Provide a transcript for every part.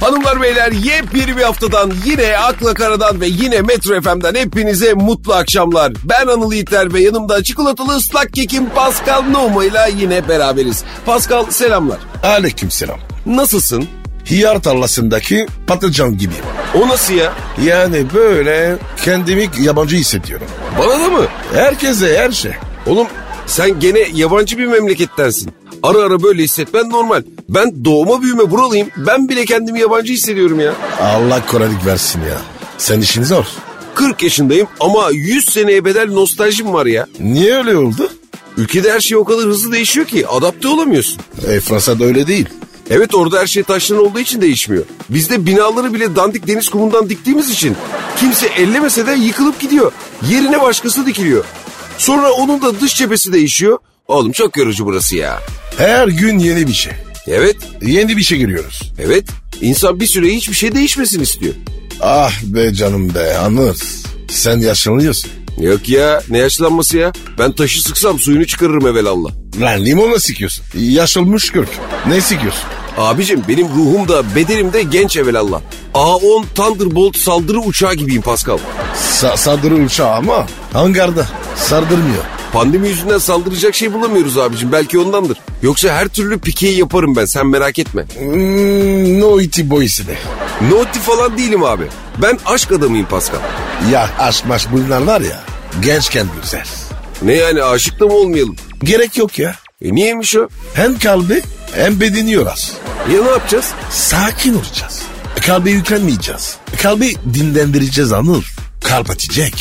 Hanımlar beyler yepyeni bir haftadan yine Akla Karadan ve yine Metro FM'den hepinize mutlu akşamlar. Ben Anıl Yiğiter ve yanımda çikolatalı ıslak kekim Pascal Noma ile yine beraberiz. Pascal selamlar. Aleykümselam. Nasılsın? Hiyar tarlasındaki patlıcan gibi. O nasıl ya? Yani böyle kendimi yabancı hissediyorum. Bana da mı? Herkese her şey. Oğlum sen gene yabancı bir memlekettensin. Ara ara böyle hissetmen normal. Ben doğma büyüme buralıyım. Ben bile kendimi yabancı hissediyorum ya. Allah kolaylık versin ya. Sen işin zor. 40 yaşındayım ama 100 seneye bedel nostaljim var ya. Niye öyle oldu? Ülkede her şey o kadar hızlı değişiyor ki adapte olamıyorsun. E, Fransa'da öyle değil. Evet orada her şey taştan olduğu için değişmiyor. Bizde binaları bile dandik deniz kumundan diktiğimiz için kimse ellemese de yıkılıp gidiyor. Yerine başkası dikiliyor. Sonra onun da dış cephesi değişiyor. Oğlum çok yorucu burası ya. Her gün yeni bir şey. Evet, Yeni bir şey giriyoruz. evet. İnsan bir süre hiçbir şey değişmesin istiyor. Ah be canım be Anır. Sen yaşlanıyorsun. Yok ya ne yaşlanması ya. Ben taşı sıksam suyunu çıkarırım evelallah. Lan limonla sikiyorsun. Yaşılmış kürk. Ne sikiyorsun? Abicim benim ruhum da bedenim de genç evelallah. A10 Thunderbolt saldırı uçağı gibiyim Pascal. Sa sardırı uçağı ama hangarda sardırmıyor. Pandemi yüzünden saldıracak şey bulamıyoruz abicim. Belki ondandır. Yoksa her türlü pikeyi yaparım ben. Sen merak etme. Hmm, no iti boyisi de. Noti falan değilim abi. Ben aşk adamıyım Pascal. Ya aşk maş bunlar var ya gençken güzel. Ne yani aşık da mı olmayalım? Gerek yok ya. E niyeymiş o? Hem kalbi hem bedeni yorar. Ya ne yapacağız? Sakin olacağız. Kalbe yüklenmeyeceğiz. Kalbi dinlendireceğiz anır. Kalp atacak.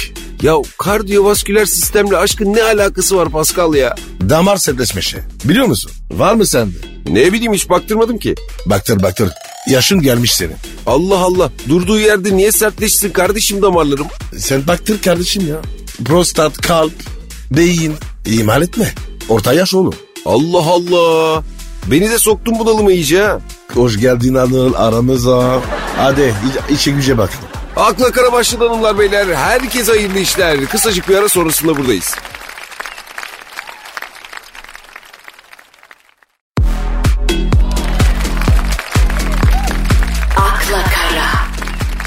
Ya kardiyovasküler sistemle aşkın ne alakası var Pascal ya? Damar sertleşmesi. Biliyor musun? Var mı sende? Ne bileyim hiç baktırmadım ki. Baktır baktır. Yaşın gelmiş senin. Allah Allah. Durduğu yerde niye sertleşsin kardeşim damarlarım? Sen baktır kardeşim ya. Prostat, kalp, beyin. İhmal etme. Orta yaş oğlum. Allah Allah. Beni de soktun bunalıma iyice ha. Hoş geldin Anıl aramıza. Hadi iç- içe güce bak. Akla kara başladı hanımlar beyler. Herkese hayırlı işler. Kısacık bir ara sonrasında buradayız. akla kara,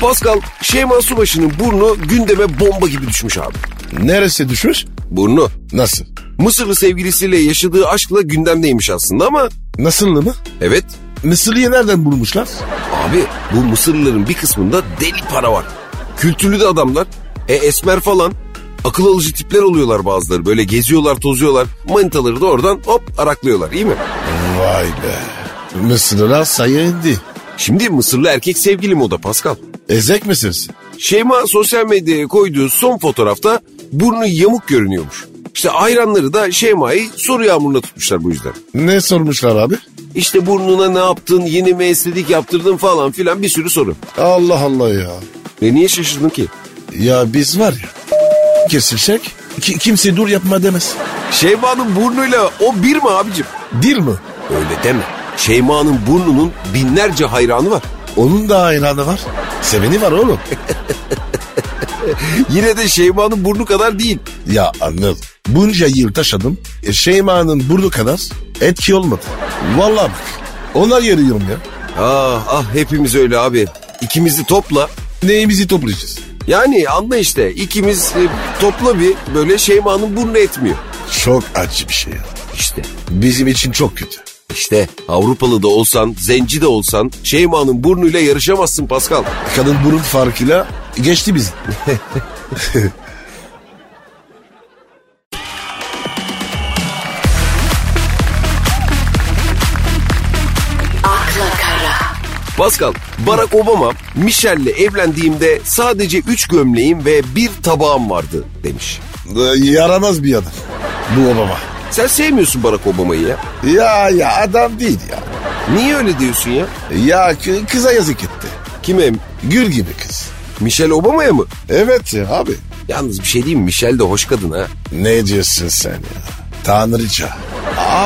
Pascal, Şeyma Subaşı'nın burnu gündeme bomba gibi düşmüş abi. Neresi düşmüş? Burnu. Nasıl? Mısırlı sevgilisiyle yaşadığı aşkla gündemdeymiş aslında ama Nasıllı mı? evet Mısırlı'yı nereden bulmuşlar? abi bu Mısırlıların bir kısmında deli para var. Kültürlü de adamlar. E esmer falan. Akıl alıcı tipler oluyorlar bazıları. Böyle geziyorlar tozuyorlar. Manitaları da oradan hop araklıyorlar iyi mi? Vay be. Mısırlılar sayı indi. Şimdi Mısırlı erkek sevgilim o da Pascal. Ezek misiniz? Şeyma sosyal medyaya koyduğu son fotoğrafta burnu yamuk görünüyormuş. İşte hayranları da Şeyma'yı soru yağmuruna tutmuşlar bu yüzden. Ne sormuşlar abi? İşte burnuna ne yaptın, yeni mi estetik yaptırdın falan filan bir sürü soru. Allah Allah ya. Ve niye şaşırdın ki? Ya biz var ya. Kesilsek ki- kimse dur yapma demez. Şeyma'nın burnuyla o bir mi abicim? Değil mi? Öyle deme. Şeyma'nın burnunun binlerce hayranı var. Onun da hayranı var. Seveni var oğlum. Yine de Şeyma'nın burnu kadar değil. ya anıl. Bunca yıl taşıdım. E, Şeyma'nın burnu kadar etki olmadı. Vallahi bak. Ona yarıyorum ya. Ah ah hepimiz öyle abi. İkimizi topla. Neyimizi toplayacağız? Yani anla işte ikimiz e, topla bir böyle Şeyma'nın burnu etmiyor. Çok acı bir şey ya. İşte Bizim için çok kötü. işte Avrupalı da olsan, zenci de olsan Şeyma'nın burnuyla yarışamazsın Pascal. Kadın burun farkıyla geçti bizi. akla kara, Pascal, Barack Obama Michelle'le evlendiğimde sadece üç gömleğim ve bir tabağım vardı demiş. Ee, Yaramaz bir adam. Bu Obama. Sen sevmiyorsun Barack Obama'yı ya. Ya ya adam değil ya. Niye öyle diyorsun ya? Ya kı- kıza yazık etti. Kime? Gül gibi kız. Michelle Obama'ya mı? Evet ya abi. Yalnız bir şey diyeyim mi? Michelle de hoş kadın ha. Ne diyorsun sen ya? Tanrıça.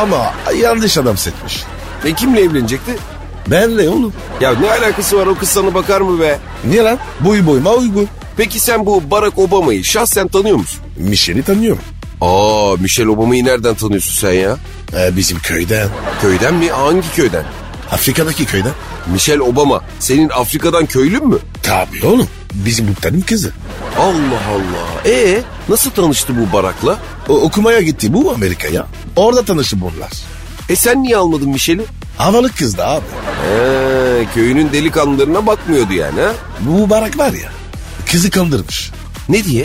Ama yanlış adam seçmiş. Ve kimle evlenecekti? Benle oğlum. Ya ne alakası var o kız sana bakar mı be? Niye lan? Boyu boyuma uygun. Peki sen bu Barack Obama'yı şahsen tanıyor musun? Michelle'i tanıyorum. Aa Michelle Obama'yı nereden tanıyorsun sen ya? Ee, bizim köyden. Köyden mi? Hangi köyden? Afrika'daki köyde. Michelle Obama senin Afrika'dan köylün mü? Tabii oğlum. Bizim muhtarın kızı. Allah Allah. E nasıl tanıştı bu Barak'la? O, okumaya gitti bu Amerika'ya. Orada tanıştı bunlar. E sen niye almadın Michelle'i? Havalı kızdı abi. He, köyünün delikanlılarına bakmıyordu yani ha? Bu barak var ya. Kızı kandırmış. Ne diye?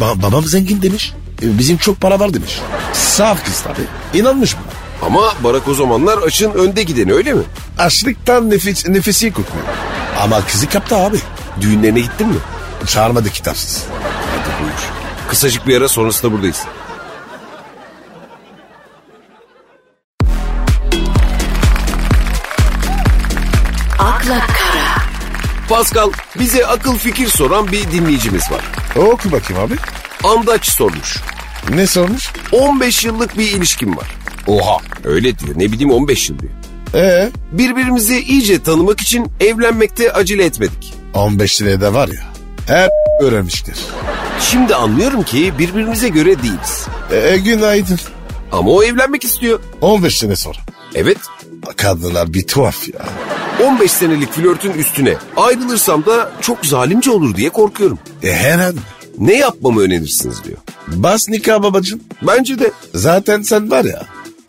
Ba- babam zengin demiş. E, bizim çok para var demiş. Saf kız tabii. İnanmış mı? Ama Barak o zamanlar açın önde gideni öyle mi? Açlıktan nefis, nefesi kokuyor. Ama kızı kaptı abi. Düğünlerine gittin mi? Çağırmadı kitapsız. Hadi buyur. Kısacık bir ara sonrasında buradayız. akla kara, Pascal bize akıl fikir soran bir dinleyicimiz var. Oku bakayım abi. Andaç sormuş. Ne sormuş? 15 yıllık bir ilişkim var. Oha. Öyle diyor ne bileyim 15 yıl diyor. Ee, Birbirimizi iyice tanımak için evlenmekte acele etmedik. 15 liraya da var ya. Her öğrenmiştir. Şimdi anlıyorum ki birbirimize göre değiliz. E, günaydın. Ama o evlenmek istiyor. 15 sene sonra. Evet Kadınlar bir tuhaf ya. 15 senelik flörtün üstüne ayrılırsam da çok zalimce olur diye korkuyorum. E, her an. Ne yapmamı önerirsiniz diyor. Bas nikah babacığım. Bence de Zaten sen var ya.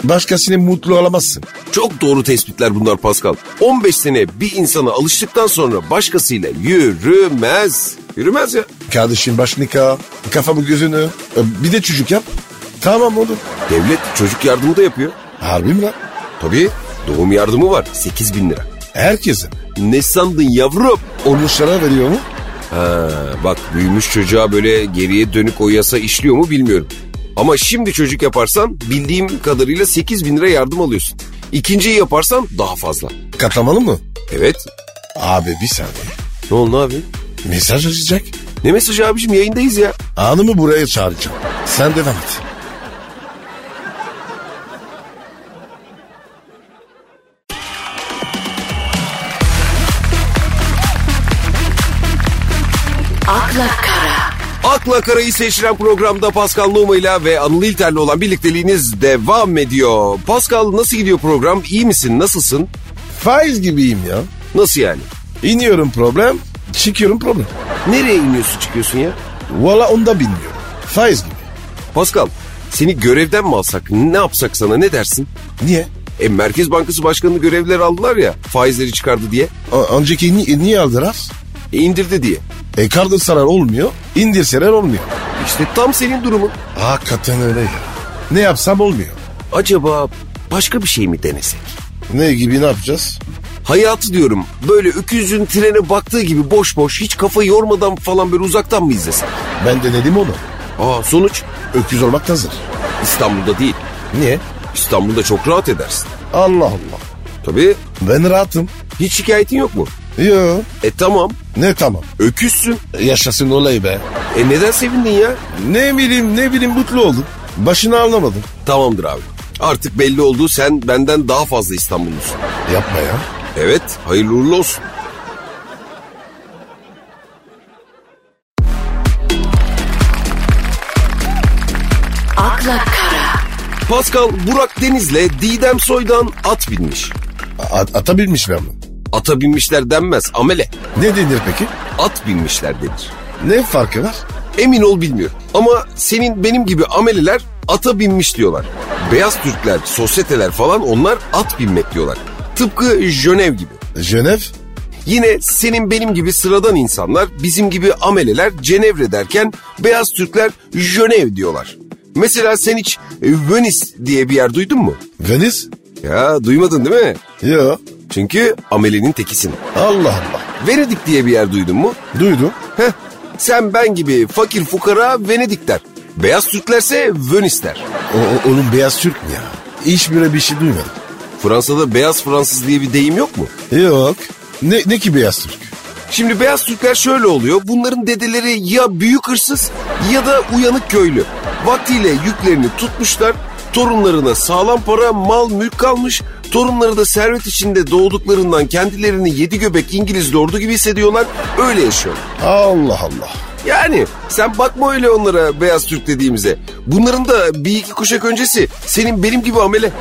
Başkasını mutlu olamazsın. çok doğru tespitler bunlar Pascal. 15 sene bir insana alıştıktan sonra başkasıyla yürümez. Yürümez ya. Kardeşim baş nikah. Kafamı gözünü. E, bir de çocuk yap. Tamam oğlum. Devlet çocuk yardımı da yapıyor. Harbi mi lan? Tabii doğum yardımı var 8 bin lira. Herkesin. Ne sandın yavrum? Olmuşlara veriyor mu? Ha, bak büyümüş çocuğa böyle geriye dönük o yasa işliyor mu bilmiyorum. Ama şimdi çocuk yaparsan bildiğim kadarıyla 8 bin lira yardım alıyorsun. İkinciyi yaparsan daha fazla. Katlamalı mı? Evet. Abi bir saniye. Ne oldu abi? Mesaj açacak. Ne mesajı abicim yayındayız ya. Anımı buraya çağıracağım. Sen devam et. akla kara, Akla Karayı seçilen programda Pascal Numa ile ve Anıl İlter'le olan birlikteliğiniz devam ediyor. Pascal nasıl gidiyor program? İyi misin? Nasılsın? Faiz gibiyim ya. Nasıl yani? İniyorum problem, çıkıyorum problem. Nereye iniyorsun çıkıyorsun ya? Valla onu da bilmiyorum. Faiz gibi. Pascal seni görevden mi alsak? Ne yapsak sana ne dersin? Niye? E Merkez Bankası Başkanı'nı görevler aldılar ya faizleri çıkardı diye. O- Önceki ni- niye aldılar? E indirdi diye. E kardır sarar olmuyor, indirseler olmuyor. İşte tam senin durumun. Hakikaten öyle ya. Ne yapsam olmuyor. Acaba başka bir şey mi denesek? Ne gibi ne yapacağız? Hayatı diyorum böyle öküzün trene baktığı gibi boş boş hiç kafa yormadan falan böyle uzaktan mı izlesek? Ben denedim onu. Aa sonuç Öküz olmak hazır. İstanbul'da değil. Niye? İstanbul'da çok rahat edersin. Allah Allah. Tabii Ben rahatım. hiç şikayetin yok mu? Yo. E tamam Ne tamam. öküzsün. Yaşasın olay be. E neden sevindin ya? Ne bileyim ne bileyim mutlu oldum. Başını anlamadım. Tamamdır abi. Artık belli oldu sen benden daha fazla İstanbullusun. Yapma ya. Evet hayırlı uğurlu olsun. akla kara, Pascal Burak Deniz'le Didem Soy'dan at binmiş. At- atabilmiş ben mi? Ata binmişler denmez amele. Ne denir peki? At binmişler denir. Ne farkı var? Emin ol bilmiyor. Ama senin benim gibi ameleler ata binmiş diyorlar. Beyaz Türkler, sosyeteler falan onlar at binmek diyorlar. Tıpkı Jönev gibi. Jönev? Yine senin benim gibi sıradan insanlar bizim gibi ameleler Cenevre derken beyaz Türkler Jönev diyorlar. Mesela sen hiç e, Venice diye bir yer duydun mu? Venice? Ya duymadın değil mi? Yo. Çünkü amelenin tekisin. Allah Allah. Venedik diye bir yer duydun mu? Duydum. Heh, sen ben gibi fakir fukara Venedik der. Beyaz Türklerse Venice der. O, o- onun beyaz Türk mü ya? Hiç böyle bir şey duymadım. Fransa'da beyaz Fransız diye bir deyim yok mu? Yok. Ne, ne ki beyaz Türk? Şimdi beyaz Türkler şöyle oluyor. Bunların dedeleri ya büyük hırsız ya da uyanık köylü. Vaktiyle yüklerini tutmuşlar. Torunlarına sağlam para, mal, mülk kalmış. Torunları da servet içinde doğduklarından kendilerini yedi göbek İngiliz lordu gibi hissediyorlar. Öyle yaşıyorlar. Allah Allah. Yani sen bakma öyle onlara beyaz Türk dediğimize. Bunların da bir iki kuşak öncesi senin benim gibi amele.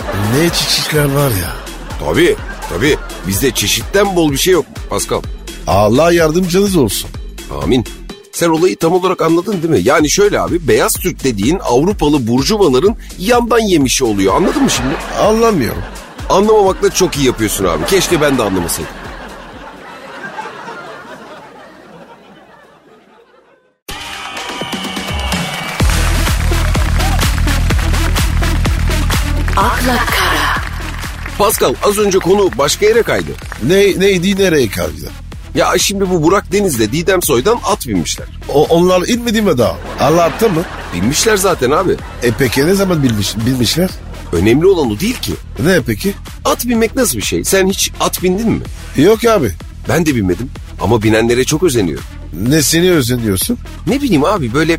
Ne çiçekler var ya. Tabii Tabii bizde çeşitten bol bir şey yok Pascal. Allah yardımcınız olsun. Amin. Sen olayı tam olarak anladın değil mi? Yani şöyle abi beyaz Türk dediğin Avrupalı burjuvaların yandan yemişi oluyor anladın mı şimdi? Anlamıyorum. Anlamamakla çok iyi yapıyorsun abi. Keşke ben de anlamasaydım. akla kara, Pascal az önce konu başka yere kaydı. Ne, neydi nereye kaydı? Ya şimdi bu Burak Deniz'le Didem Soy'dan at binmişler. O, onlar inmedi mi daha? Allah attı mı? Binmişler zaten abi. E peki ne zaman bilmiş, bilmişler? Önemli olan o değil ki. Ne peki? At binmek nasıl bir şey? Sen hiç at bindin mi? Yok abi. Ben de binmedim ama binenlere çok özeniyorum. Nesini özeniyorsun? Ne bileyim abi böyle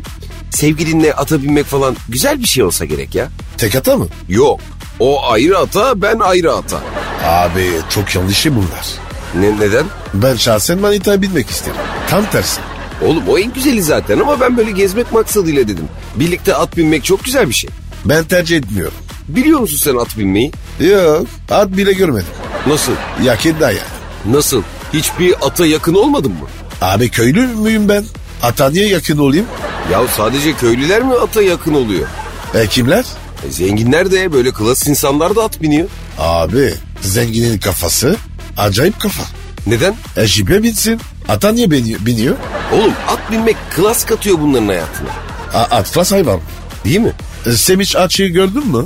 sevgilinle ata binmek falan güzel bir şey olsa gerek ya. Tek ata mı? Yok. O ayrı ata, ben ayrı ata. Abi çok yanlış şey bunlar. Ne, neden? Ben şahsen manitaya binmek isterim. Tam tersi. Oğlum o en güzeli zaten ama ben böyle gezmek maksadıyla dedim. Birlikte at binmek çok güzel bir şey. Ben tercih etmiyorum. Biliyor musun sen at binmeyi? Yok at bile görmedim. Nasıl? Yakında ya. Nasıl? Hiçbir ata yakın olmadın mı? Abi köylü müyüm ben? Ata niye yakın olayım? Ya sadece köylüler mi ata yakın oluyor? E kimler? E, zenginler de böyle klas insanlar da at biniyor. Abi zenginin kafası acayip kafa. Neden? E jipe binsin. Ata niye bini- biniyor? Oğlum at binmek klas katıyor bunların hayatına. A- at klas hayvan. Değil mi? E, Sevinç açıyı gördün mü?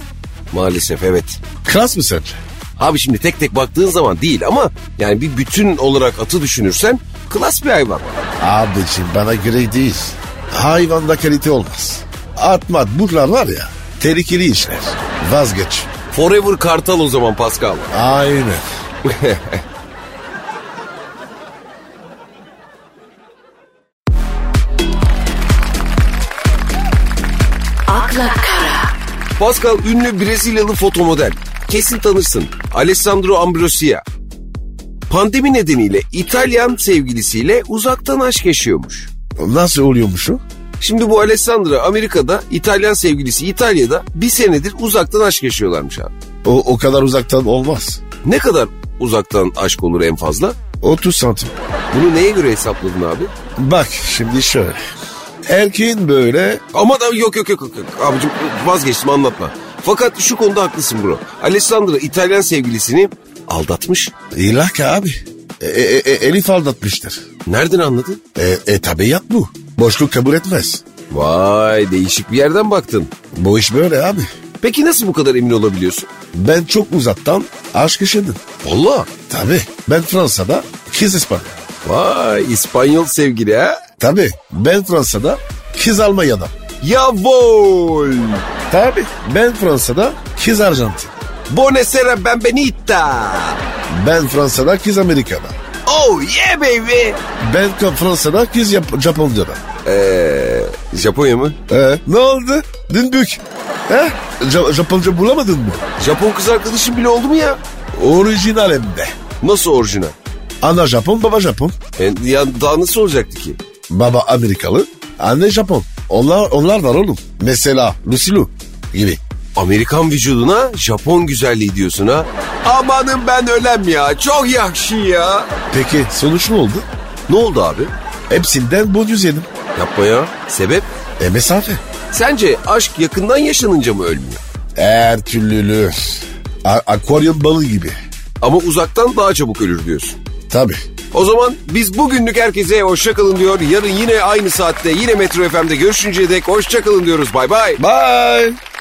Maalesef evet. Klas mı sence? Abi şimdi tek tek baktığın zaman değil ama yani bir bütün olarak atı düşünürsen klas bir hayvan. Abicim bana göre değil. Hayvanda kalite olmaz. Atmat burlar var ya tehlikeli işler. Vazgeç. Forever kartal o zaman Pascal. Aynen. akla kara, Pascal ünlü Brezilyalı fotomodel. Kesin tanırsın. Alessandro Ambrosia. Pandemi nedeniyle İtalyan sevgilisiyle uzaktan aşk yaşıyormuş. Nasıl oluyormuş o? Şimdi bu Alessandro Amerika'da, İtalyan sevgilisi İtalya'da bir senedir uzaktan aşk yaşıyorlarmış abi. O, o kadar uzaktan olmaz. Ne kadar uzaktan aşk olur en fazla? 30 santim. Bunu neye göre hesapladın abi? Bak şimdi şöyle. Erkeğin böyle Ama da yok yok yok yok. yok. Abicim vazgeçtim anlatma. Fakat şu konuda haklısın bro. Alessandro İtalyan sevgilisini aldatmış. ilak abi. E, e, e, Elif aldatmıştır. Nereden anladın? E, e tabiat bu. Boşluk kabul etmez. Vay değişik bir yerden baktın. Bu iş böyle abi. Peki nasıl bu kadar emin olabiliyorsun? Ben çok uzaktan aşk yaşadım. Valla. Tabii. Ben Fransa'da, kız İspanya. Vay İspanyol sevgili ha. Tabii. Ben Fransa'da, kız Almanya'da. Yavol. Tabii. Ben Fransa'da, kız Arjantin. Buonasera benvenita. Ben Fransa'da, kız Amerika'da. Oh yeah baby. Ben Ka- Fransa'da, kız Yap- Japonya'da. Ee, Japonya mı? Ee, ne oldu? Dündük. He? Ja- Japonca bulamadın mı? Japon kız arkadaşın bile oldu mu ya? Orijinal hem de. Nasıl orijinal? Ana Japon, baba Japon. E, ya daha nasıl olacaktı ki? Baba Amerikalı, anne Japon. Onlar onlar var oğlum. Mesela Lucilu gibi. Amerikan vücuduna Japon güzelliği diyorsun ha. Amanın ben ölem ya. Çok yakşı ya. Peki sonuç ne oldu? Ne oldu abi? Hepsinden bonus yedim. Yapma ya. Sebep? E mesafe. Sence aşk yakından yaşanınca mı ölmüyor? Her türlülü. A- akvaryum balığı gibi. Ama uzaktan daha çabuk ölür diyorsun. Tabii. O zaman biz bugünlük herkese hoşçakalın diyor. Yarın yine aynı saatte yine Metro FM'de görüşünceye dek hoşçakalın diyoruz. Bay bay. Bye.